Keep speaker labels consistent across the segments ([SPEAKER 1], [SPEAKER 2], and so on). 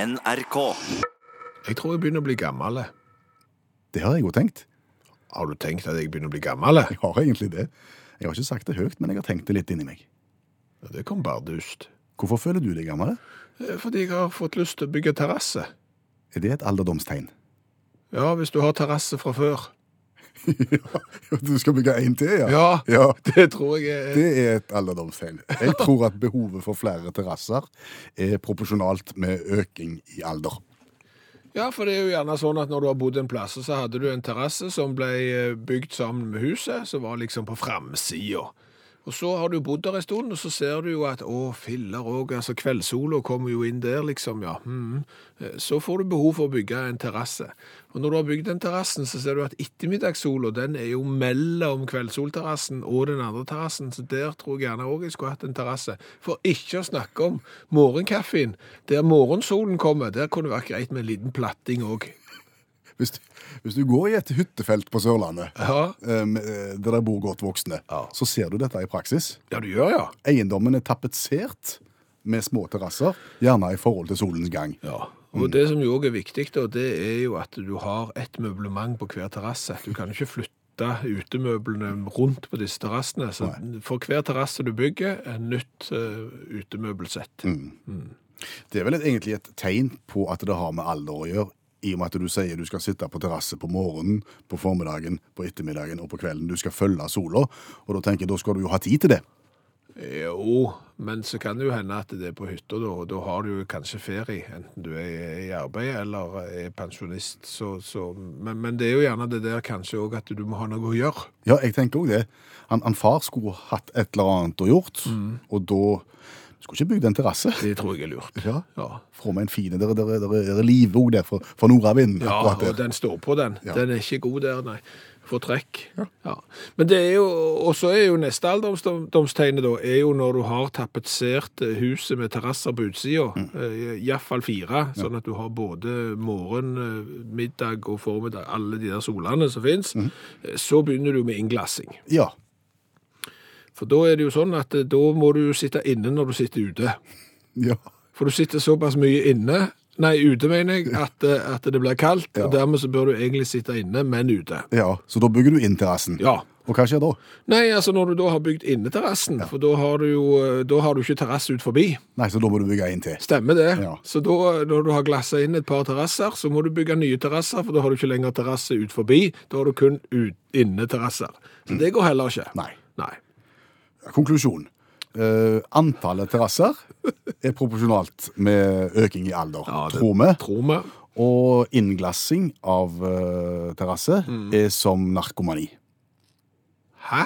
[SPEAKER 1] NRK.
[SPEAKER 2] Jeg tror jeg begynner å bli gammel.
[SPEAKER 3] Det har jeg jo tenkt.
[SPEAKER 2] Har du tenkt at jeg begynner å bli gammel?
[SPEAKER 3] Jeg har egentlig det. Jeg har ikke sagt det høyt, men jeg har tenkt det litt inni meg.
[SPEAKER 2] Ja, Det kom bare dust.
[SPEAKER 3] Hvorfor føler du deg gammel?
[SPEAKER 2] Eh, Fordi jeg har fått lyst til å bygge terrasse.
[SPEAKER 3] Er det et alderdomstegn?
[SPEAKER 2] Ja, hvis du har terrasse fra før.
[SPEAKER 3] ja, du skal bygge en til, ja?
[SPEAKER 2] Ja,
[SPEAKER 3] Ja,
[SPEAKER 2] det tror jeg er
[SPEAKER 3] det er et alderdomstegn. Jeg tror at behovet for flere terrasser er proporsjonalt med øking i alder.
[SPEAKER 2] Ja, for det er jo gjerne sånn at når du har bodd en plass, så hadde du en terrasse som ble eh, bygd sammen med huset, som var liksom på framsida. Og så har du bodd der en stund, og så ser du jo at å, filler òg, altså kveldssola kommer jo inn der, liksom, ja. mhm. Eh, Så får du behov for å bygge en terrasse. Og når du har bygd den terrassen, så ser du at ettermiddagssola, den er jo mellom kveldssolterrassen og den andre terrassen, så der tror jeg gjerne òg jeg skulle hatt en terrasse. For ikke å snakke om morgenkaffen. Der morgensolen kommer, der kunne det vært greit med en liten platting òg.
[SPEAKER 3] Hvis du, hvis du går i et hyttefelt på Sørlandet,
[SPEAKER 2] Ja.
[SPEAKER 3] em, eh, der det bor godt voksne,
[SPEAKER 2] Ja.
[SPEAKER 3] så ser du dette i praksis.
[SPEAKER 2] ja, du gjør, ja.
[SPEAKER 3] Eiendommen er tapetsert med små terrasser, gjerne i forhold til solens gang.
[SPEAKER 2] Ja, og det som jo også er viktig, da, det er jo at du har et møblement på hver terrasse. Du kan jo ikke flytte utemøblene rundt på disse terrassene. Så for hver terrasse du bygger, et nytt eh, utemøbelsett.
[SPEAKER 3] Mm. Det er vel et, egentlig et tegn på at det har med alder å gjøre, i og med at du sier du skal sitte på terrasse på morgenen, på formiddagen, på ettermiddagen og på kvelden. Du skal følge sola, og da tenker jeg, da skal du jo ha tid til det.
[SPEAKER 2] Jo, men så kan det jo hende at det er på hytta, da. Og da har du jo kanskje ferie, enten du er i arbeid eller er pensjonist. Så, så, men, men det er jo gjerne det der kanskje òg at du må ha noe å gjøre.
[SPEAKER 3] Ja, jeg tenker også det. Han, han far skulle hatt et eller annet å gjort,
[SPEAKER 2] Mm.
[SPEAKER 3] og da skulle ikke bygd en terrasse.
[SPEAKER 2] Det tror jeg er lurt.
[SPEAKER 3] Ja.
[SPEAKER 2] Ja.
[SPEAKER 3] Fra meg en fine, der, der, der, der er liv også der, for, for nordavinden.
[SPEAKER 2] Ja,
[SPEAKER 3] akkurat
[SPEAKER 2] og
[SPEAKER 3] der.
[SPEAKER 2] den står på, den.
[SPEAKER 3] Ja.
[SPEAKER 2] Den er ikke god der, nei. For trekk. Ja. Men det er jo Og så er jo neste alderdomstegnet, da, er jo når du har tapetsert eh, huset med terrasser på utsida. Mm. Iallfall fire, sånn at du har både morgen, eh, middag og formiddag, alle de der solene som fins.
[SPEAKER 3] Mm.
[SPEAKER 2] Så begynner du med innglassing.
[SPEAKER 3] Ja,
[SPEAKER 2] For da er det jo sånn at eh, da må du jo sitte inne når du sitter ute.
[SPEAKER 3] ja.
[SPEAKER 2] For du sitter såpass mye inne, nei ute mener jeg, at, eh, at det blir kaldt, og dermed så bør du egentlig sitte inne, men ute.
[SPEAKER 3] ja. Så da bygger du inn terrassen.
[SPEAKER 2] Ja.
[SPEAKER 3] Og hva skjer da?
[SPEAKER 2] Nei, altså når du da har bygd inneterrassen, for da har du jo eh, da har du ikke terrasse ut forbi.
[SPEAKER 3] Nei, så da må du bygge inn til.
[SPEAKER 2] Stemmer det.
[SPEAKER 3] Ja.
[SPEAKER 2] Så da, når du har glasset inn et par terrasser, så må du bygge nye terrasser, for da har du ikke lenger terrasse ut forbi. Da har du kun ut, inneterrasser. Så det går heller ikke.
[SPEAKER 3] Nei.
[SPEAKER 2] Nei.
[SPEAKER 3] Konklusjon. Eh, antallet terrasser er proporsjonalt med øking i alder,
[SPEAKER 2] Ja, det-
[SPEAKER 3] tror vi.
[SPEAKER 2] Tror vi.
[SPEAKER 3] Og innglassing av eh, terrasse
[SPEAKER 2] Mm.
[SPEAKER 3] er som narkomani.
[SPEAKER 2] Hæ?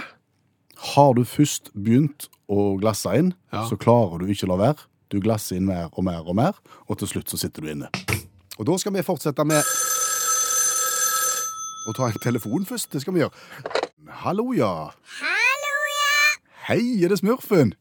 [SPEAKER 3] Har du først begynt å glasse inn,
[SPEAKER 2] Ja.
[SPEAKER 3] så klarer du ikke å la være. Du glasser inn mer og mer og mer, og til slutt så sitter du inne. Og da skal vi fortsette med å ta en telefon først. Det skal vi gjøre. Hallo, ja.
[SPEAKER 4] Hallo, ja!
[SPEAKER 3] Hei, er det Smurfen?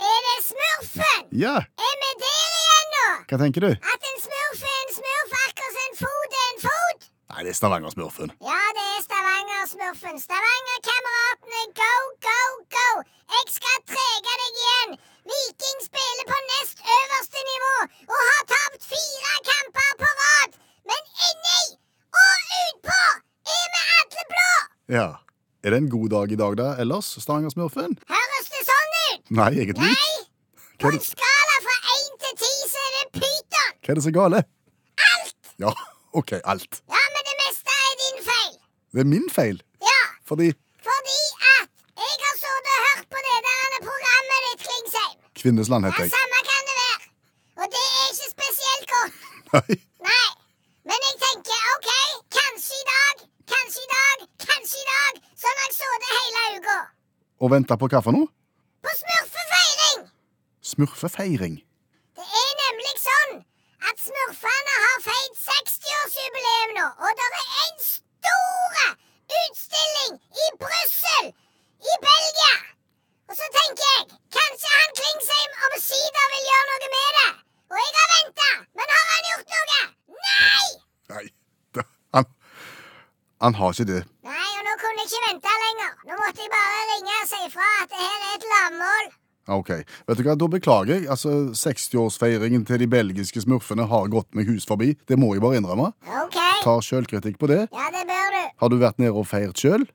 [SPEAKER 4] Er det smurfen?
[SPEAKER 3] Ja,
[SPEAKER 4] Er vi der igjen nå?
[SPEAKER 3] hva tenker du?
[SPEAKER 4] At en smurf er en smurf, akkurat som en fot er en fot?
[SPEAKER 3] Nei, det er Stavanger-Smurfen.
[SPEAKER 4] Ja, det er Stavanger-smurfen. Stavanger-kameratene, go, go, go! Jeg skal trege deg igjen. Viking spiller på nest øverste nivå og har tapt fire kamper på rad. Men inni og utpå er vi alle blå!
[SPEAKER 3] Ja. Er det en god dag i dag, da, ellers, Stavanger-smurfen?
[SPEAKER 4] Høres det sånn ut?
[SPEAKER 3] Nei, egentlig ikke.
[SPEAKER 4] Nei!
[SPEAKER 3] Hva
[SPEAKER 4] På
[SPEAKER 3] er
[SPEAKER 4] en
[SPEAKER 3] det-
[SPEAKER 4] skala fra én til ti så er det pyton.
[SPEAKER 3] Hva er det som er gale? Alt! Ja, OK, alt.
[SPEAKER 4] Ja, men det meste er din feil.
[SPEAKER 3] Det er min feil,
[SPEAKER 4] Ja,
[SPEAKER 3] fordi
[SPEAKER 4] fordi at jeg har sittet og hørt på det der programmet ditt, Klingsheim.
[SPEAKER 3] Kvinnesland
[SPEAKER 4] Ja,
[SPEAKER 3] heter jeg.
[SPEAKER 4] samme kan det være. Og det er ikke spesielt godt.
[SPEAKER 3] Nei.
[SPEAKER 4] Nei. Men jeg tenker OK, kanskje i dag, kanskje i dag, kanskje i dag. Sånn har jeg sittet hele uka.
[SPEAKER 3] Og venter på hva for noe?
[SPEAKER 4] På smurfefeiring.
[SPEAKER 3] Smurfefeiring.
[SPEAKER 4] Det er nemlig sånn at smurfene har feiret 60-årsjubileum nå, og det er en stor utstilling i Brussel i Belgia. Og så tenker jeg, kanskje han Klingsheim omsider vil gjøre noe med det. Og jeg har venta, men har han gjort noe? Nei!
[SPEAKER 3] Nei, da- han, han har ikke det.
[SPEAKER 4] Nei, og nå kunne jeg ikke vente lenger. Nå måtte jeg bare ringe og si ifra at det her er et lavmål.
[SPEAKER 3] Ok. Vet du hva, da beklager jeg. Altså, 60-årsfeiringen til de belgiske smurfene har gått meg hus forbi. Det må jeg bare innrømme.
[SPEAKER 4] OK.
[SPEAKER 3] Tar sjølkritikk på det.
[SPEAKER 4] Ja, det bør du.
[SPEAKER 3] Har du vært nede og feirt sjøl?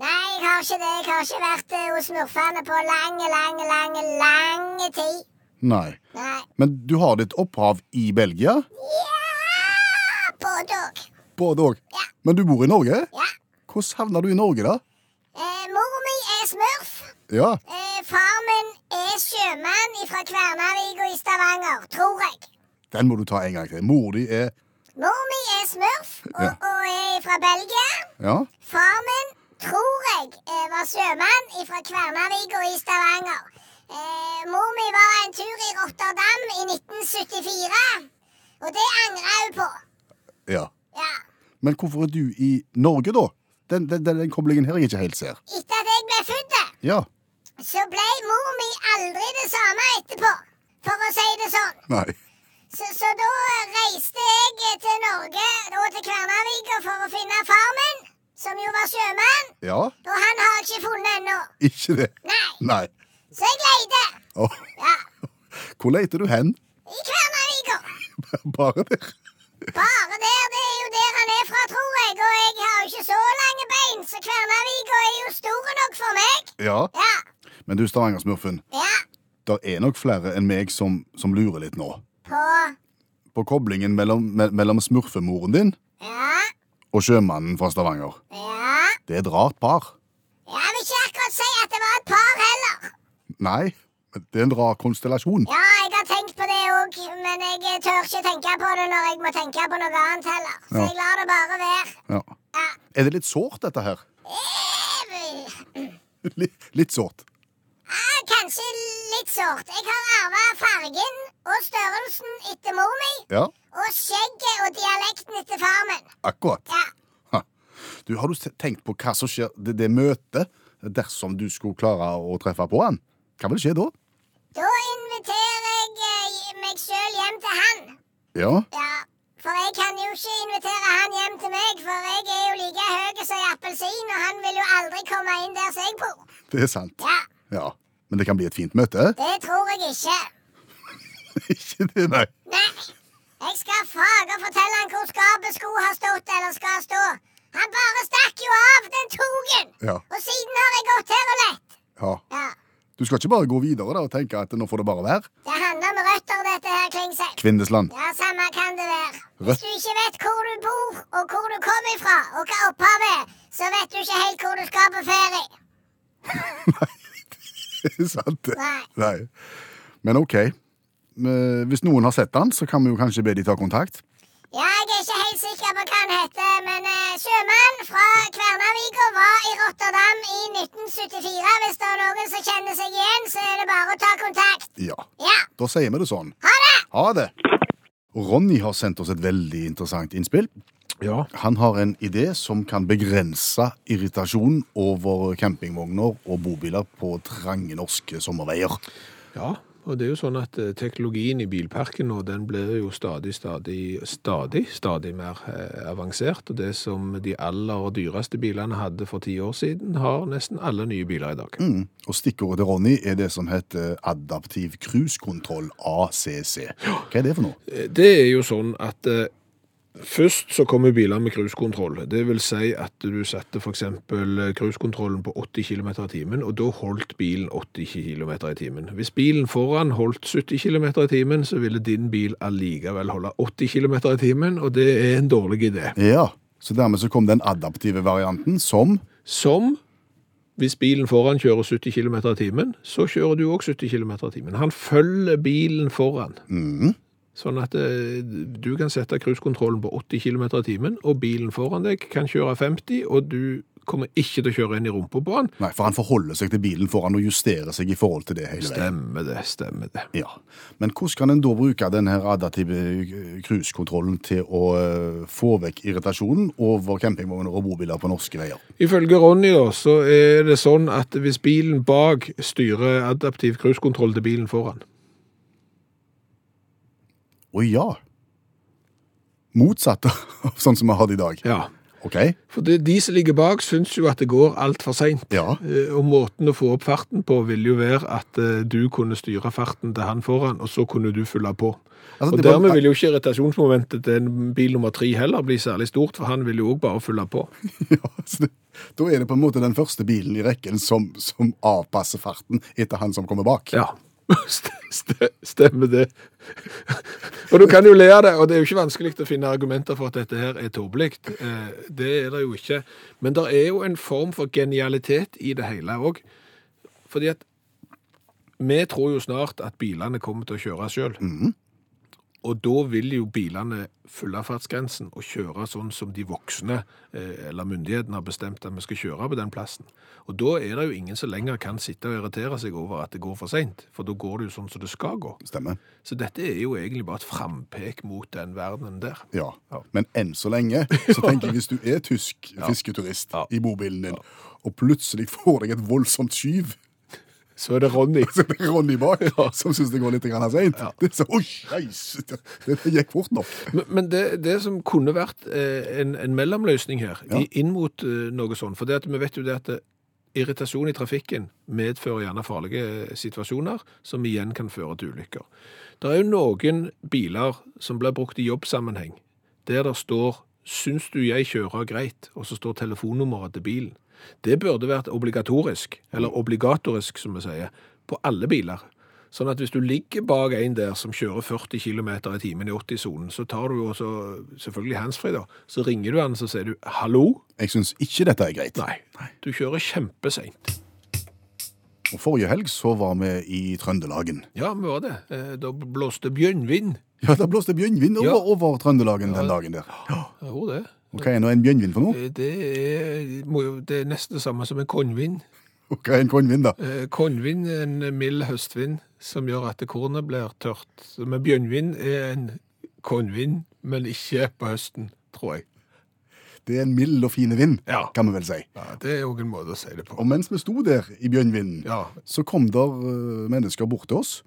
[SPEAKER 4] Nei, jeg har ikke det. Jeg har ikke vært eh, hos smurfene på lange, lange, lange, lange tid.
[SPEAKER 3] Nei.
[SPEAKER 4] Nei.
[SPEAKER 3] Men du har ditt opphav i Belgia?
[SPEAKER 4] Ja, både òg.
[SPEAKER 3] Både òg.
[SPEAKER 4] Ja.
[SPEAKER 3] Men du bor i Norge?
[SPEAKER 4] Ja.
[SPEAKER 3] Hvordan havna du i Norge, da?
[SPEAKER 4] Eh, mor mi er smurf.
[SPEAKER 3] Ja.
[SPEAKER 4] Eh, far min er sjømann fra Kværnavik og i Stavanger, tror jeg.
[SPEAKER 3] Den må du ta en gang til. Mor di er
[SPEAKER 4] Mor mi er smurf og,
[SPEAKER 3] Ja.
[SPEAKER 4] og er fra Belgia.
[SPEAKER 3] Ja.
[SPEAKER 4] Far min tror jeg eh, var sjømann fra Kværnavik og i Stavanger. Eh, mor mi var en tur i Rotterdam i 1974, og det angrer hun på.
[SPEAKER 3] ja.
[SPEAKER 4] Ja.
[SPEAKER 3] Men hvorfor er du i Norge, da? Den, den, den, den koblingen her jeg ikke helt ser.
[SPEAKER 4] Etter at jeg ble født,
[SPEAKER 3] Ja.
[SPEAKER 4] så ble mor mi aldri det samme etterpå, for å si det sånn.
[SPEAKER 3] Nei.
[SPEAKER 4] Så, så da eh, reiste jeg eh, til Norge og til Kværnavik for å finne far min, som jo var sjømann,
[SPEAKER 3] Ja.
[SPEAKER 4] og han har jeg ikke funnet ennå.
[SPEAKER 3] Ikke det.
[SPEAKER 4] Nei.
[SPEAKER 3] Nei.
[SPEAKER 4] Så jeg leide.
[SPEAKER 3] Åh,
[SPEAKER 4] Ja.
[SPEAKER 3] Hvor leter du hen?
[SPEAKER 4] I Kværnavika.
[SPEAKER 3] Bare der?
[SPEAKER 4] Bare der. Det er jo der han er fra, tror jeg. Og jeg har jo ikke så lange bein, så Kværnavika er jo store nok for meg.
[SPEAKER 3] Ja.
[SPEAKER 4] Ja.
[SPEAKER 3] Men du, Stavanger-smurfen,
[SPEAKER 4] Ja.
[SPEAKER 3] det er nok flere enn meg som, som lurer litt nå.
[SPEAKER 4] På
[SPEAKER 3] På koblingen mellom, me, mellom smurfemoren din
[SPEAKER 4] Ja.
[SPEAKER 3] og sjømannen fra Stavanger.
[SPEAKER 4] Ja.
[SPEAKER 3] Det er et rart par.
[SPEAKER 4] Jeg vil ikke akkurat si at det var et par heller.
[SPEAKER 3] Nei, men det er en rar konstellasjon.
[SPEAKER 4] Ja, jeg har tenkt på det òg, men jeg tør ikke tenke på det når jeg må tenke på noe annet heller. Så
[SPEAKER 3] Ja.
[SPEAKER 4] jeg lar det bare være.
[SPEAKER 3] Ja.
[SPEAKER 4] Ja.
[SPEAKER 3] Er det litt sårt, dette her?
[SPEAKER 4] Eh,
[SPEAKER 3] Litt, litt sårt.
[SPEAKER 4] Ja, Ah, kanskje litt sårt. Jeg har arva fargen og størrelsen etter mor mi.
[SPEAKER 3] Ja,
[SPEAKER 4] Og skjegget og dialekten etter far min.
[SPEAKER 3] akkurat.
[SPEAKER 4] Ja.
[SPEAKER 3] Ha. Du, har du se- tenkt på hva som skjer det, det møtet, dersom du skulle klare å treffe på han? Hva vil skje da?
[SPEAKER 4] Da inviterer jeg eh, meg sjøl hjem til han.
[SPEAKER 3] Ja,
[SPEAKER 4] Ja. For jeg kan jo ikke invitere han hjem til meg, for jeg er jo like høy som en appelsin, og han vil jo aldri komme inn der som jeg bor.
[SPEAKER 3] det er sant.
[SPEAKER 4] Ja,
[SPEAKER 3] Ja, men det kan bli et fint møte.
[SPEAKER 4] det tror jeg ikke.
[SPEAKER 3] Ikke det, nei.
[SPEAKER 4] Nei. Jeg skal fage og fortelle han hvor skapet skulle ha stått eller skal stå. Han bare stakk jo av den togen!
[SPEAKER 3] Ja.
[SPEAKER 4] Og siden har jeg gått her og lett.
[SPEAKER 3] Ja.
[SPEAKER 4] Ja.
[SPEAKER 3] Du skal ikke bare gå videre da, og tenke at nå får det bare være.
[SPEAKER 4] Det handler om røtter, dette her, Klingsheim.
[SPEAKER 3] Kvindesland.
[SPEAKER 4] Ja, samme kan det være. Hvis
[SPEAKER 3] Rødt.
[SPEAKER 4] du ikke vet hvor du bor, og hvor du kommer fra, og hva opphavet er, så vet du ikke helt hvor du skal på ferie.
[SPEAKER 3] Det er sant. det.
[SPEAKER 4] Nei.
[SPEAKER 3] Nei. Men ok. Eh, Hvis noen har sett han, så kan vi jo kanskje be de ta kontakt.
[SPEAKER 4] Ja, jeg er ikke helt sikker på hva han heter, men eh, sjømann fra Kværnavika var i Rotterdam i 1974. Hvis det er noen som kjenner seg igjen, så er det bare å ta kontakt.
[SPEAKER 3] Ja.
[SPEAKER 4] Ja,
[SPEAKER 3] Da sier vi det sånn.
[SPEAKER 4] ha det!
[SPEAKER 3] Ha det! Ronny har sendt oss et veldig interessant innspill.
[SPEAKER 2] Ja.
[SPEAKER 3] Han har en idé som kan begrense irritasjon over campingvogner og bobiler på trange norske sommerveier.
[SPEAKER 2] Ja, og det er jo sånn at eh, teknologien i bilparken nå, den blir jo stadig, stadig, stadig, stadig mer eh, avansert. Og det som de aller dyreste bilene hadde for ti år siden, har nesten alle nye biler i dag.
[SPEAKER 3] Mm. Og stikkordet til Ronny er det som heter adaptiv cruisekontroll, ACC. Hva er det for noe?
[SPEAKER 2] Eh, Det er jo sånn at eh, først så kommer biler med cruisekontroll. Det vil si at du satte f.eks. eh, cruisekontrollen på 80 km i timen, og da holdt bilen 80 km i timen. Hvis bilen foran holdt 70 km i timen, så ville din bil allikevel holde 80 km i timen, og det er en dårlig idé.
[SPEAKER 3] Ja, så dermed så kom den adaptive varianten som
[SPEAKER 2] Som hvis bilen foran kjører 70 km i timen, så kjører du òg 70 km i timen. Han følger bilen foran.
[SPEAKER 3] Mhm.
[SPEAKER 2] Sånn at eh, du kan sette cruisekontrollen på 80 km i timen, og bilen foran deg kan kjøre 50, og du kommer ikke til å kjøre inn i rumpa på han.
[SPEAKER 3] Nei, for han forholder seg til bilen foran og justerer seg i forhold til det hele veien.
[SPEAKER 2] Stemmer det, stemmer det.
[SPEAKER 3] Ja, Men hvordan kan en da bruke denne adaptive eh, cruisekontrollen til å eh, få vekk irritasjonen over campingvogner og bobiler på norske veier?
[SPEAKER 2] Ifølge Ronny da, så er det sånn at hvis bilen bak styrer adaptiv cruisekontroll til bilen foran.
[SPEAKER 3] Å ja! Motsatt av sånn som vi har det i dag.
[SPEAKER 2] Ja.
[SPEAKER 3] OK?
[SPEAKER 2] For det, de som ligger bak, syns jo at det går altfor seint.
[SPEAKER 3] Ja.
[SPEAKER 2] Eh, Og måten å få opp farten på ville jo være at eh, du kunne styre farten til han foran, og så kunne du fylle på.
[SPEAKER 3] Altså,
[SPEAKER 2] og
[SPEAKER 3] det var-
[SPEAKER 2] dermed vil jo ikke irritasjonsmomentet til en bil nummer tre heller bli særlig stort, for han vil jo òg bare fylle på.
[SPEAKER 3] Ja, så det, da er det på en måte den første bilen i rekken som, som avpasser farten etter han som kommer bak.
[SPEAKER 2] Ja. St- st- Stemmer det. Og du kan jo le av det, og det er jo ikke vanskelig å finne argumenter for at dette her er tåpelig. Eh, Det er det jo ikke. Men det er jo en form for genialitet i det hele òg. Fordi at vi tror jo snart at bilene kommer til å kjøre sjøl. Og da vil jo bilene fylle fartsgrensen og kjøre sånn som de voksne eh, eller myndighetene har bestemt at vi skal kjøre på den plassen. Og da er det jo ingen som lenger kan sitte og irritere seg over at det går for seint, for da går det jo sånn som det skal gå.
[SPEAKER 3] Stemmer.
[SPEAKER 2] Så dette er jo egentlig bare et frampek mot den verdenen der.
[SPEAKER 3] Ja.
[SPEAKER 2] Ja.
[SPEAKER 3] Men enn så lenge så tenker jeg hvis du er tysk fisketurist
[SPEAKER 2] Ja.
[SPEAKER 3] i bobilen din, og plutselig får deg et voldsomt skyv
[SPEAKER 2] Så er det Ronny.
[SPEAKER 3] så det er Ronny bak, som syns det går litt grann seint. Det er så, «Oi, jeis, det, det gikk fort nok.
[SPEAKER 2] Men, men det, det som kunne vært eh, en, en mellomløsning her, i, inn mot eh, noe sånt, for det at vi vet jo det at eh, irritasjon i trafikken medfører gjerne farlige eh, situasjoner, som igjen kan føre til ulykker. Det er jo noen biler som blir brukt i jobbsammenheng, der det står «Syns du jeg kjører greit?» og så står telefonnummeret til bilen. Det burde vært obligatorisk, eller obligatorisk, som vi sier, på alle biler. Sånn at hvis du ligger bak en der som kjører 40 km i timen i 80-sonen, så tar du jo også selvfølgelig handsfree, da. Så ringer du han, så sier du 'hallo'.
[SPEAKER 3] Jeg syns ikke dette er greit.
[SPEAKER 2] Nei. Du kjører kjempeseint.
[SPEAKER 3] Og Forrige helg så var vi i Trøndelagen.
[SPEAKER 2] Ja, vi var det. Eh, Da blåste bjønnvind.
[SPEAKER 3] Ja, Da blåste bjørnvind over,
[SPEAKER 2] Ja.
[SPEAKER 3] over Trøndelagen den dagen der.
[SPEAKER 2] Ja, Jo, det.
[SPEAKER 3] Og Hva er nå en bjørnvind for noe?
[SPEAKER 2] Eh, Det er, må jo- det er nesten det samme som en kornvind.
[SPEAKER 3] Og Hva er en kornvind, da?
[SPEAKER 2] Eh, Kornvind er en mild høstvind som gjør at kornet blir tørt. Men bjønnvind er en kornvind, men ikke på høsten, tror jeg.
[SPEAKER 3] Det er en mild og fin vind,
[SPEAKER 2] Ja.
[SPEAKER 3] kan vi vel si.
[SPEAKER 2] Ja, Det er òg en måte å si det på.
[SPEAKER 3] Og mens vi sto der i bjørnvinden,
[SPEAKER 2] Ja,
[SPEAKER 3] så kom der eh, mennesker bort til oss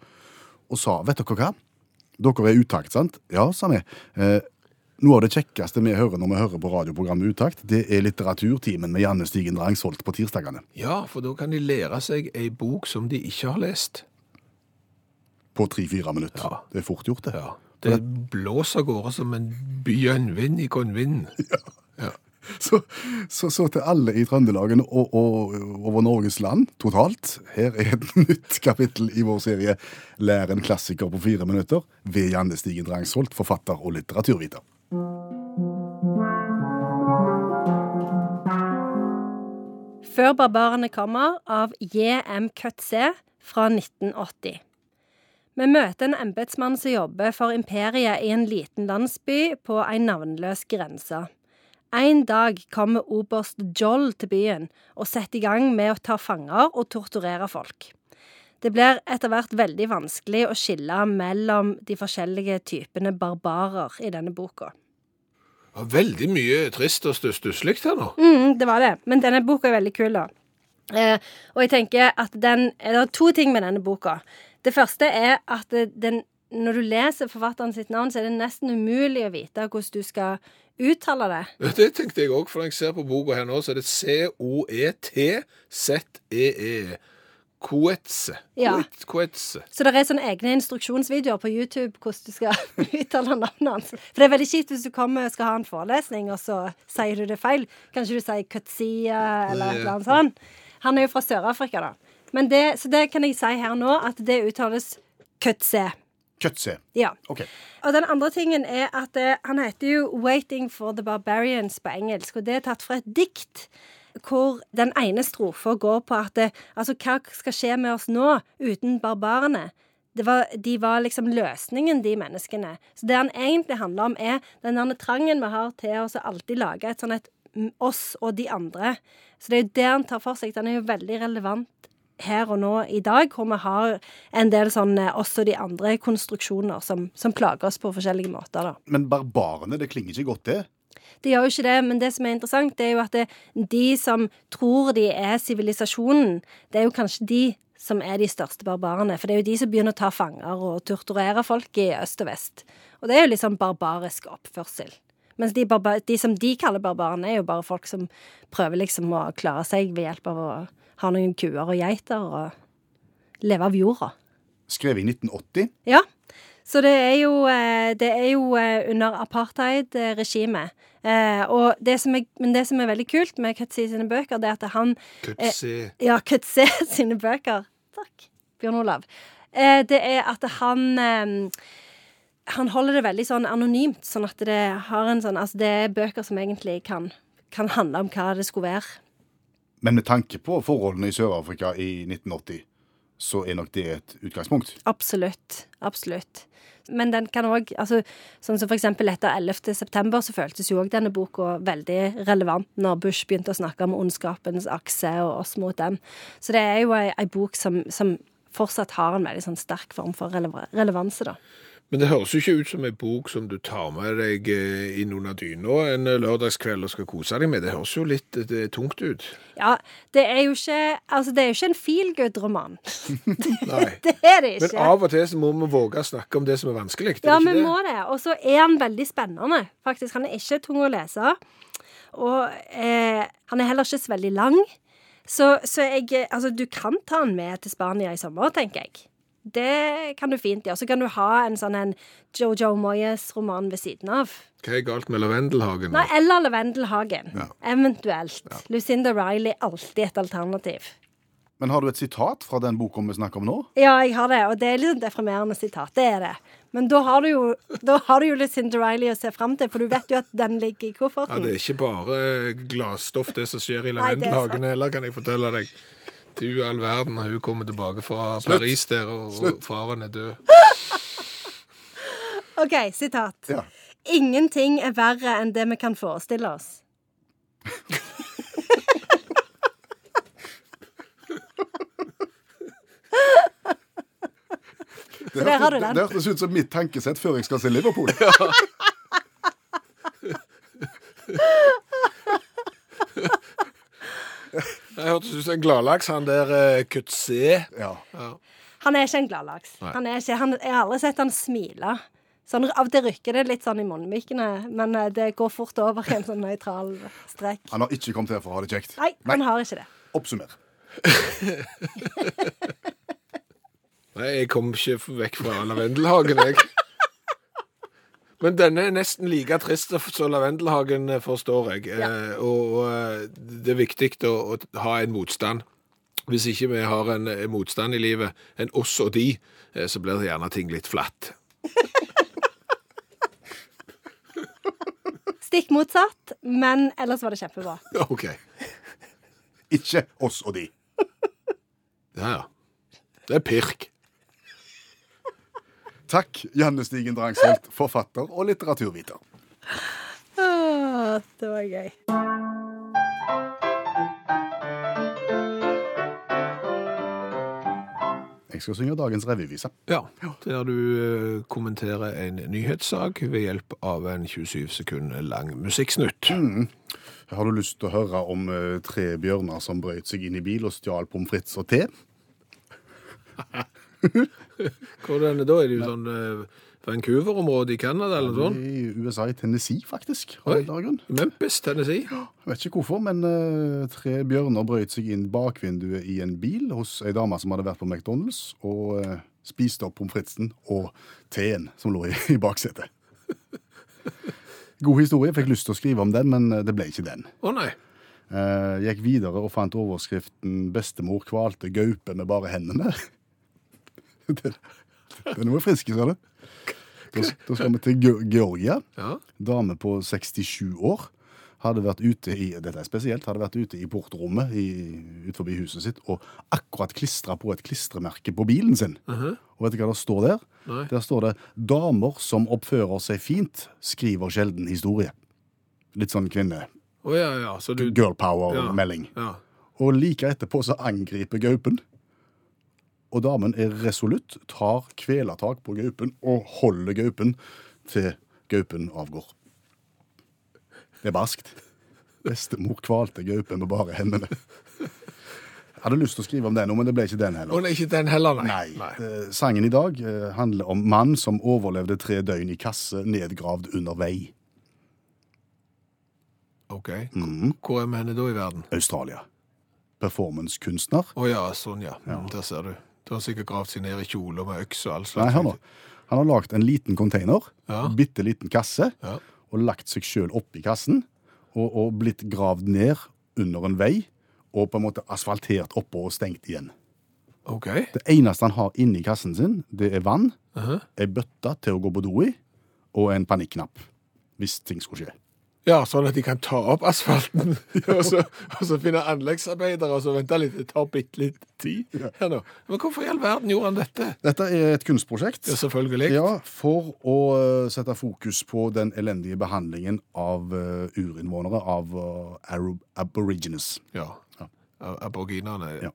[SPEAKER 3] og sa, vet dere hva? Dere er utakt, sant? Ja, sa vi. Eh, noe av det kjekkeste vi hører når vi hører på radioprogrammet Utakt, det er litteraturtimen med Janne Stigen Drangsholt på tirsdagene.
[SPEAKER 2] Ja, for da kan de lære seg ei bok som de ikke har lest.
[SPEAKER 3] På tre-fire minutter.
[SPEAKER 2] Ja.
[SPEAKER 3] Det er fort gjort, det.
[SPEAKER 2] Det blåser av gårde som en bjønnvind i konvinden.
[SPEAKER 3] Så, så, så til alle i Trøndelagen og, og over Norges land totalt, her er et nytt kapittel i vår serie Lær en klassiker på fire minutter ved Janne Stigen Drangsholt, forfatter og litteraturviter.
[SPEAKER 1] Før barbarene kommer av J.M. Køtze E, fra 1980. Vi møter en embetsmann som jobber for imperiet i en liten landsby på ei navnløs grense. En dag kommer oberst Joll til byen og setter i gang med å ta fanger og torturere folk. Det blir etter hvert veldig vanskelig å skille mellom de forskjellige typene barbarer i denne boka.
[SPEAKER 2] Og Veldig mye trist og stuss- stusslig her nå.
[SPEAKER 1] Mm, det var det. Men denne boka er veldig kul, da. Eh, og jeg tenker at den Det er to ting med denne boka. Det første er at det- den når du leser forfatteren sitt navn, så er det nesten umulig å vite hvordan du skal uttale det.
[SPEAKER 2] Det tenkte jeg òg, for når jeg ser på boka her nå, så er det E C-O-E-T-Z-E-E. E Koetse.
[SPEAKER 1] Ja.
[SPEAKER 2] Koet- Koetse.
[SPEAKER 1] Så det er sånne egne instruksjonsvideoer på YouTube hvordan du skal uttale navnet hans. For det er veldig kjipt hvis du kommer og skal ha en forelesning, og så sier du det feil. Kanskje du sier Kutsia eller et eller annet sånt. Han er jo fra Sør-Afrika, da. Men det, så det kan jeg si her nå, at det uttales Kutse.
[SPEAKER 3] Kjøttse.
[SPEAKER 1] Ja.
[SPEAKER 3] Ok.
[SPEAKER 1] Og den andre tingen er at eh, han heter jo 'Waiting for the Barbarians' på engelsk, og det er tatt fra et dikt hvor den ene strofa går på at eh, altså, hva skal skje med oss nå uten barbarene? Det var, de var liksom løsningen, de menneskene. Så det han egentlig handler om, er den der trangen vi har til oss å alltid lage et sånn et mm, oss og de andre. Så det er jo det han tar for seg. Den er jo veldig relevant her og nå i dag, hvor vi har en del sånne også de andre konstruksjoner som, som plager oss på forskjellige måter. da.
[SPEAKER 3] Men barbarene, det klinger ikke godt det.
[SPEAKER 1] De gjør jo ikke det, men det som er interessant, det er jo at det, de som tror de er sivilisasjonen, det er jo kanskje de som er de største barbarene. For det er jo de som begynner å ta fanger og torturere folk i øst og vest. Og det er jo litt sånn barbarisk oppførsel. Mens de, barba- de som de kaller barbarene, er jo bare folk som prøver liksom å klare seg ved hjelp av å ha noen kuer og geiter og leve av jorda.
[SPEAKER 3] Skrevet i 1980.
[SPEAKER 1] Ja. Så det er jo, eh, det er jo eh, under apartheid-regimet. Eh, og det som er, men det som er veldig kult med Kutsi sine bøker, det er at han
[SPEAKER 2] Kutsi.
[SPEAKER 1] Ja, Kutsi sine bøker. Takk, Bjørn Olav. Eh, det er at han eh, han holder det veldig sånn anonymt, sånn at det har en sånn Altså, det er bøker som egentlig kan, kan handle om hva det skulle være.
[SPEAKER 3] Men med tanke på forholdene i Sør-Afrika i 1980, så er nok det et utgangspunkt.
[SPEAKER 1] Absolutt. Absolutt. Men den kan òg altså, Sånn som for eksempel etter 11. september, så føltes jo òg denne boka veldig relevant når Bush begynte å snakke om ondskapens akse og oss mot den. Så det er jo ei, ei bok som, som fortsatt har en veldig sånn sterk form for relev relevanse, da.
[SPEAKER 2] Men det høres jo ikke ut som en bok som du tar med deg eh, inn under dyna en eh, lørdagskveld og skal kose deg med. Det høres jo litt eh, det er tungt ut.
[SPEAKER 1] Ja, det er jo ikke Altså, det er jo ikke en feelgood-roman.
[SPEAKER 2] Nei.
[SPEAKER 1] Det er det ikke.
[SPEAKER 2] Men av og til så må vi våge å snakke om det som er vanskelig. er
[SPEAKER 1] Ja,
[SPEAKER 2] det
[SPEAKER 1] vi
[SPEAKER 2] ikke
[SPEAKER 1] må
[SPEAKER 2] det?
[SPEAKER 1] det. Og så er han veldig spennende, faktisk. Han er ikke tung å lese. Og eh, han er heller ikke så veldig lang. Så, så jeg eh, Altså, du kan ta han med til Spania i sommer, tenker jeg. Det kan du fint gjøre. Så kan du ha en sånn en Jojo Moyes-roman ved siden av.
[SPEAKER 2] Hva er galt med lavendelhagen?
[SPEAKER 1] Nei, eller Lavendelhagen.
[SPEAKER 3] Ja.
[SPEAKER 1] Eventuelt. Lucinda Riley er alltid et alternativ.
[SPEAKER 3] Men har du et sitat fra den boka vi snakker om nå?
[SPEAKER 1] Ja, jeg har det, og det er litt sånn deprimerende sitat. Det er det. Men da har du jo, da har du jo litt Cinder Riley å se fram til, for du vet jo at den ligger i
[SPEAKER 2] Ja, det
[SPEAKER 1] kofferten.
[SPEAKER 2] er ikke bare eh, glasstoff, det som skjer i
[SPEAKER 1] Nei, det er
[SPEAKER 2] lavendelhagen heller, kan jeg fortelle deg. Du all verden, hun kommer tilbake fra Paris der, og, og faren er død.
[SPEAKER 1] OK, sitat.
[SPEAKER 3] Ja.
[SPEAKER 1] Ingenting er verre enn det vi kan forestille oss.
[SPEAKER 3] Det,
[SPEAKER 1] der har du
[SPEAKER 3] hørtes-
[SPEAKER 1] den.
[SPEAKER 3] det hørtes ut som mitt tankesett før jeg skal til Liverpool.
[SPEAKER 2] Jeg hørtes ut som en gladlaks, han der eh, Kutse.
[SPEAKER 3] Ja.
[SPEAKER 1] Han er ikke en gladlaks. Han er ikke, han, jeg har aldri sett han smile. Sånn, av det rykker det litt sånn i munnvikene, men eh, det går fort over i en sånn nøytral strek.
[SPEAKER 3] Han har ikke kommet her for å ha det kjekt.
[SPEAKER 1] Nei, han har ikke det.
[SPEAKER 3] Oppsummer.
[SPEAKER 2] Nei, jeg kom ikke vekk fra lavendelhagen, jeg. Men denne er nesten like trist som lavendelhagen, eh, forstår jeg. Eh, og og, eh, det er viktig å, å ha en motstand. Hvis ikke vi har en eh, motstand i livet, en oss og de, eh, så blir det gjerne ting litt flatt.
[SPEAKER 1] Stikk motsatt, men ellers var det kjempebra.
[SPEAKER 2] OK.
[SPEAKER 3] Ikke oss og de.
[SPEAKER 2] Ja, ja. Det er pirk.
[SPEAKER 3] Takk, Janne Stigen Drangsholt, forfatter og litteraturviter.
[SPEAKER 1] Åh, det var gøy.
[SPEAKER 3] Jeg skal synge dagens revyvise.
[SPEAKER 2] Ja, der du eh, kommenterer en nyhetssak ved hjelp av en 27 sekund lang musikksnutt.
[SPEAKER 3] Har du lyst til å høre om eh, tre bjørner som brøt seg inn i bil og stjal pommes frites og te?
[SPEAKER 2] Hvordan da? Er det jo sånn eh, Vancouver-område i Canada eller noe sånt?
[SPEAKER 3] I USA, i Tennessee, faktisk. av en eller annen grunn.
[SPEAKER 2] Memphis, Tennessee.
[SPEAKER 3] Jeg vet ikke hvorfor, men eh, tre bjørner brøt seg inn bakvinduet i en bil hos ei dame som hadde vært på McDonald's, og eh, spiste opp pommes fritesen og teen som lå i, i baksetet. God historie. Jeg fikk lyst til å skrive om den, men eh, det ble ikke den.
[SPEAKER 2] Å nei.
[SPEAKER 3] Eh, gikk videre og fant overskriften 'Bestemor kvalte gaupe med bare hendene'. det, det er noe friske, sa du. Da, da skal vi til Ge- Georgia.
[SPEAKER 2] Ja.
[SPEAKER 3] Dame på 67 år hadde vært ute i dette er spesielt, hadde vært ute i portrommet i, ut forbi huset sitt og akkurat klistra på et klistremerke på bilen sin. Og vet du hva det står der?
[SPEAKER 2] Nei.
[SPEAKER 3] Der står det 'Damer som oppfører seg fint, skriver sjelden historie'. Litt sånn kvinne
[SPEAKER 2] Å ja, ja. Så du
[SPEAKER 3] girl
[SPEAKER 2] Ja.
[SPEAKER 3] power-melding.
[SPEAKER 2] ja.
[SPEAKER 3] Og like etterpå så angriper gaupen. Og damen er resolutt, tar kvelertak på gaupen og holder gaupen til gaupen avgår. Det er barskt. Bestemor kvalte gaupen med bare hendene. Jeg hadde lyst til å skrive om den, nå, men det ble ikke den heller.
[SPEAKER 2] Å nei, ikke den heller, nei.
[SPEAKER 3] Nei. Eh, Sangen i dag eh, handler om mann som overlevde tre døgn i kasse nedgravd under vei.
[SPEAKER 2] OK.
[SPEAKER 3] Mm.
[SPEAKER 2] Hvor er vi henne da i verden?
[SPEAKER 3] Australia. Performancekunstner.
[SPEAKER 2] Å ja, sånn ja. Mm, Der ser du. Da har han sikkert gravd seg ned i kjole med øks og all slags.
[SPEAKER 3] Nei, hør nå. Han har lagd en liten container,
[SPEAKER 2] Ja.
[SPEAKER 3] en bitte liten kasse,
[SPEAKER 2] Ja.
[SPEAKER 3] og lagt seg sjøl oppi kassen. Og, og blitt gravd ned under en vei, og på en måte asfaltert oppå og stengt igjen.
[SPEAKER 2] OK.
[SPEAKER 3] Det eneste han har inni kassen sin, det er vann,
[SPEAKER 2] Aha.
[SPEAKER 3] ei bøtte til å gå på do i, og en panikknapp. Hvis ting skulle skje.
[SPEAKER 2] Ja, sånn at de kan ta opp asfalten, og så, og så finne anleggsarbeidere, og så vente litt, det tar bitte litt tid. Her nå. Men hvorfor i all verden gjorde han dette?
[SPEAKER 3] Dette er et kunstprosjekt.
[SPEAKER 2] Ja, selvfølgelig.
[SPEAKER 3] Ja, for å eh, sette fokus på den elendige behandlingen av eh, urinnvånere, av eh, Arab aborigines.
[SPEAKER 2] Ja. Ab- Aboriginerne.
[SPEAKER 3] Ja.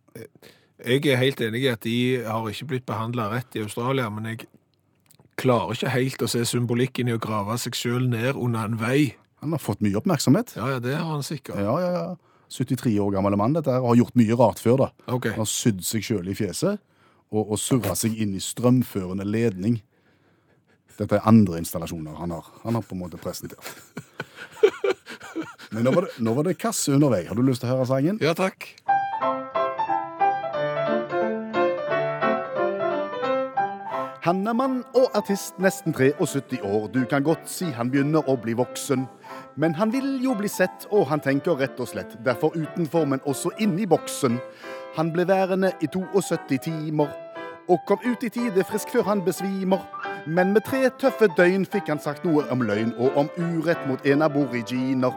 [SPEAKER 2] Jeg er helt enig i at de har ikke blitt behandla rett i Australia, men jeg klarer ikke helt å se symbolikken i å grave seg sjøl ned under en vei.
[SPEAKER 3] Han har fått mye oppmerksomhet.
[SPEAKER 2] Ja, ja, det har han sikkert.
[SPEAKER 3] Ja, ja, ja. 73 år gammel mann, dette her, og har gjort mye rart før, da.
[SPEAKER 2] Ok.
[SPEAKER 3] Han har sydd seg sjøl i fjeset, og, og surra seg inn i strømførende ledning. Dette er andre installasjoner han har. Han har på en måte presentert. Men nå var det, nå var det kasse under vei. Har du lyst til å høre sangen?
[SPEAKER 2] Ja, takk.
[SPEAKER 3] Han er mann og artist, nesten 73 år. Du kan godt si han begynner å bli voksen. Men han vil jo bli sett, og han tenker rett og slett derfor utenfor, men også inni boksen. Han ble værende i 72 timer, og kom ut i tide frisk før han besvimer. Men med tre tøffe døgn fikk han sagt noe om løgn og om urett mot en aboriginer.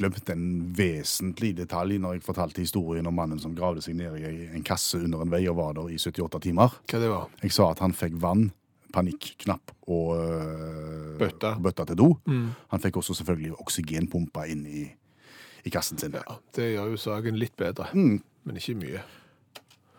[SPEAKER 3] Glemte en vesentlig detalj når jeg fortalte historien om mannen som gravde seg ned i en kasse under en vei og var der i 78 timer.
[SPEAKER 2] Hva det var?
[SPEAKER 3] Jeg sa at han fikk vann, panikknapp og øh,
[SPEAKER 2] Bøtta.
[SPEAKER 3] bøtta til do. Han fikk også selvfølgelig oksygenpumpa inn i, i kassen sin. Mm.
[SPEAKER 2] Ja, det gjør jo saken litt bedre, men ikke mye.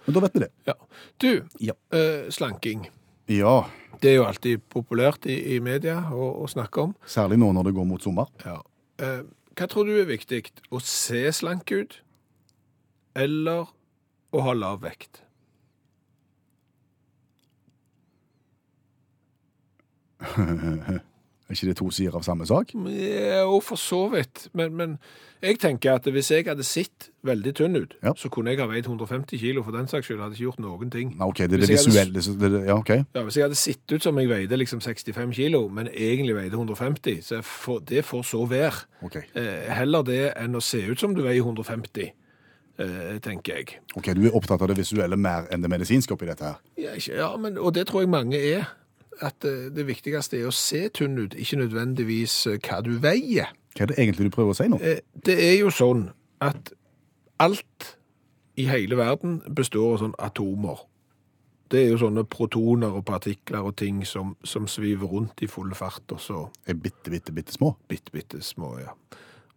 [SPEAKER 3] Men da vet vi det.
[SPEAKER 2] Ja. Du,
[SPEAKER 3] Ja.
[SPEAKER 2] eh, slanking.
[SPEAKER 3] ja.
[SPEAKER 2] Det er jo alltid populært i, i media å, å snakke om.
[SPEAKER 3] Særlig nå når det går mot sommer.
[SPEAKER 2] Ja. Eh, hva tror du er viktig? Å se slank ut, eller å ha lav vekt?
[SPEAKER 3] Er ikke det to sider av samme sak?
[SPEAKER 2] Jo, for så vidt. Men, men jeg tenker at hvis jeg hadde sett veldig tynn ut,
[SPEAKER 3] Ja.
[SPEAKER 2] så kunne jeg ha veid 150 kilo for den saks skyld. Hadde ikke gjort noen ting.
[SPEAKER 3] Nei, ok, det er det
[SPEAKER 2] Hvis jeg hadde-
[SPEAKER 3] visuelle. så Det, det, ja, ok.
[SPEAKER 2] Ja, Hvis jeg hadde sett ut som jeg veide liksom 65 kilo, men egentlig veide 150, så jeg får- det får så være.
[SPEAKER 3] Ok,
[SPEAKER 2] Eh, heller det enn å se ut som du veier 150, eh, tenker jeg.
[SPEAKER 3] Ok, Du er opptatt av det visuelle mer enn det medisinske oppi dette her?
[SPEAKER 2] Ja, ikke, ja men, og det tror jeg mange er. At eh, det viktigste er å se tynn ut, ikke nødvendigvis eh, hva du veier.
[SPEAKER 3] Hva er det egentlig du prøver å si nå?
[SPEAKER 2] Eh, Det er jo sånn at alt i hele verden består av sånne atomer. Det er jo sånne protoner og partikler og ting som, som sviver rundt i full fart, og så
[SPEAKER 3] Er bitte, bitte, bitte små?
[SPEAKER 2] bitte, bitte små, ja.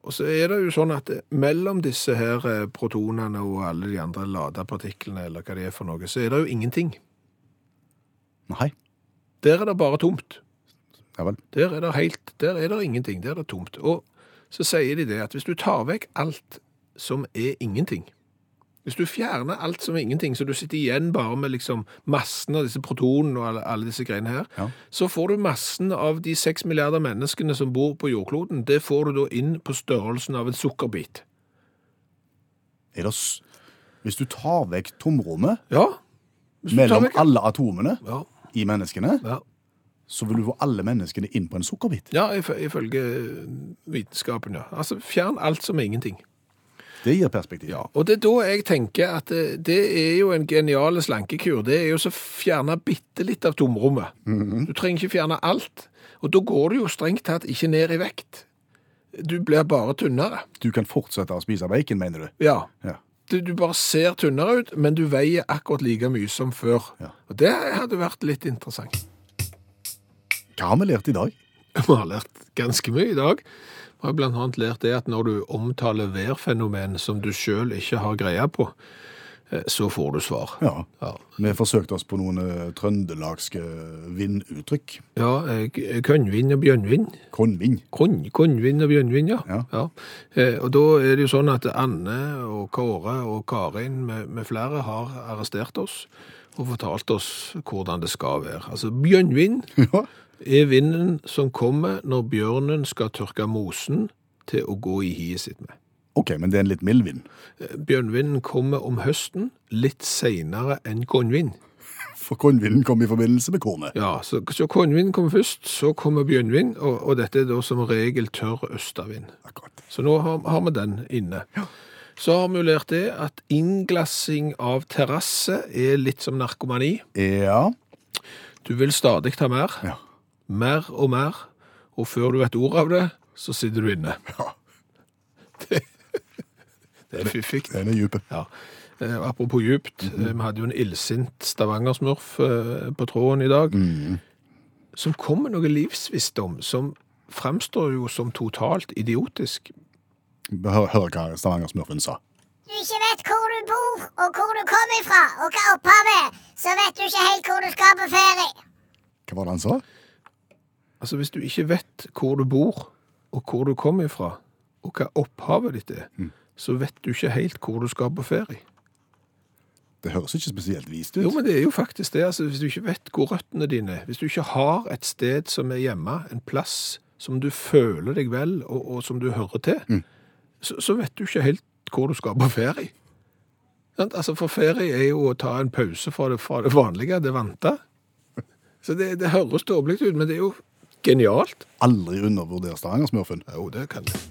[SPEAKER 2] Og så er det jo sånn at eh, mellom disse her eh, protonene og alle de andre ladepartiklene, eller hva det er for noe, så er det jo ingenting.
[SPEAKER 3] Nei.
[SPEAKER 2] Der er det bare tomt.
[SPEAKER 3] Ja vel.
[SPEAKER 2] Der er det helt, der er det ingenting, der er det tomt. Og så sier de det at hvis du tar vekk alt som er ingenting, hvis du fjerner alt som er ingenting, så du sitter igjen bare med liksom massen av disse protonene og alle, alle disse greiene her,
[SPEAKER 3] Ja.
[SPEAKER 2] så får du massen av de seks milliarder menneskene som bor på jordkloden, det får du da inn på størrelsen av en sukkerbit.
[SPEAKER 3] Er det s Hvis du tar vekk tomrommet
[SPEAKER 2] Ja, hvis du tar
[SPEAKER 3] mellom
[SPEAKER 2] vekk-
[SPEAKER 3] alle atomene
[SPEAKER 2] Ja,
[SPEAKER 3] i menneskene,
[SPEAKER 2] ja.
[SPEAKER 3] så vil du få alle menneskene inn på en sukkerbit.
[SPEAKER 2] ja, ifø- ifølge vitenskapen, ja. Altså, fjern alt som er ingenting.
[SPEAKER 3] Det gir perspektiv.
[SPEAKER 2] Ja, og det er da jeg tenker at eh, det er jo en genial slankekur. Det er jo så fjerne bitte litt av tomrommet.
[SPEAKER 3] Mhm.
[SPEAKER 2] Du trenger ikke fjerne alt, og da går du jo strengt tatt ikke ned i vekt. Du blir bare tynnere.
[SPEAKER 3] Du kan fortsette å spise bacon, mener du?
[SPEAKER 2] Ja,
[SPEAKER 3] Ja.
[SPEAKER 2] du, du bare ser tynnere ut, men du veier akkurat like mye som før.
[SPEAKER 3] Ja.
[SPEAKER 2] Og det hadde vært litt interessant.
[SPEAKER 3] Hva har vi lært i dag?
[SPEAKER 2] Vi har lært ganske mye i dag. Vi har blant annet lært det at når du omtaler værfenomen som du selv ikke har greie på, eh, så får du svar.
[SPEAKER 3] Ja.
[SPEAKER 2] Ja.
[SPEAKER 3] Vi forsøkte oss på noen eh, trøndelagske vinduttrykk.
[SPEAKER 2] Ja, eh, Kønnvin og Bjønnvin.
[SPEAKER 3] Konvin.
[SPEAKER 2] Kon- Konvin og Bjønnvin, ja.
[SPEAKER 3] Ja.
[SPEAKER 2] Eh, Og da er det jo sånn at Anne og Kåre og Karin med, med flere har arrestert oss og fortalt oss hvordan det skal være. Altså, Bjønnvin
[SPEAKER 3] Ja.
[SPEAKER 2] er vinden som kommer når bjørnen skal tørke mosen til å gå i hiet sitt med.
[SPEAKER 3] OK, men det er en litt mild vind.
[SPEAKER 2] Eh, Bjørnvinden kommer om høsten, litt seinere enn kornvind.
[SPEAKER 3] For kornvinden kom i forbindelse med kornet.
[SPEAKER 2] Ja, så, så kornvind kommer først, så kommer bjørnvind, og, og dette er da som regel tørr østavind.
[SPEAKER 3] Akkurat.
[SPEAKER 2] Så nå har, har vi den inne. Så har vi jo lært det at innglassing av terrasse er litt som narkomani.
[SPEAKER 3] Ja.
[SPEAKER 2] Du vil stadig ta mer,
[SPEAKER 3] ja.
[SPEAKER 2] mer og mer, og før du vet ordet av det, så sitter du inne.
[SPEAKER 3] Ja.
[SPEAKER 2] Det er fiffig.
[SPEAKER 3] Den er dyp.
[SPEAKER 2] Ja. Eh, apropos djupt,
[SPEAKER 3] Mhm.
[SPEAKER 2] eh, vi hadde jo en illsint Stavanger-smurf eh, på tråden i dag,
[SPEAKER 3] Mhm.
[SPEAKER 2] som kom med noe livsvisdom som fremstår jo som totalt idiotisk.
[SPEAKER 3] Hør, hør hva Stavanger-smurfen sa.
[SPEAKER 4] du ikke vet hvor du bor, og hvor du kommer ifra, og hva opphavet er, så vet du ikke helt hvor du skal på ferie.
[SPEAKER 3] Hva var det han sa?
[SPEAKER 2] Altså, hvis du ikke vet hvor du bor, og hvor du kommer ifra, og hva opphavet ditt er, så vet du ikke helt hvor du skal på ferie.
[SPEAKER 3] Det høres ikke spesielt vist ut.
[SPEAKER 2] Jo, men det er jo faktisk det. Altså, hvis du ikke vet hvor røttene dine er, hvis du ikke har et sted som er hjemme, en plass som du føler deg vel, og, og som du hører til, så, så vet du ikke helt hvor du skal på ferie. Sant? Altså, for ferie er jo å ta en pause fra det, fra det vanlige, det vante. Så det, det høres dårlig ut, men det er jo genialt.
[SPEAKER 3] Aldri undervurder Stavanger-smurfen.
[SPEAKER 2] Jo, det kan det.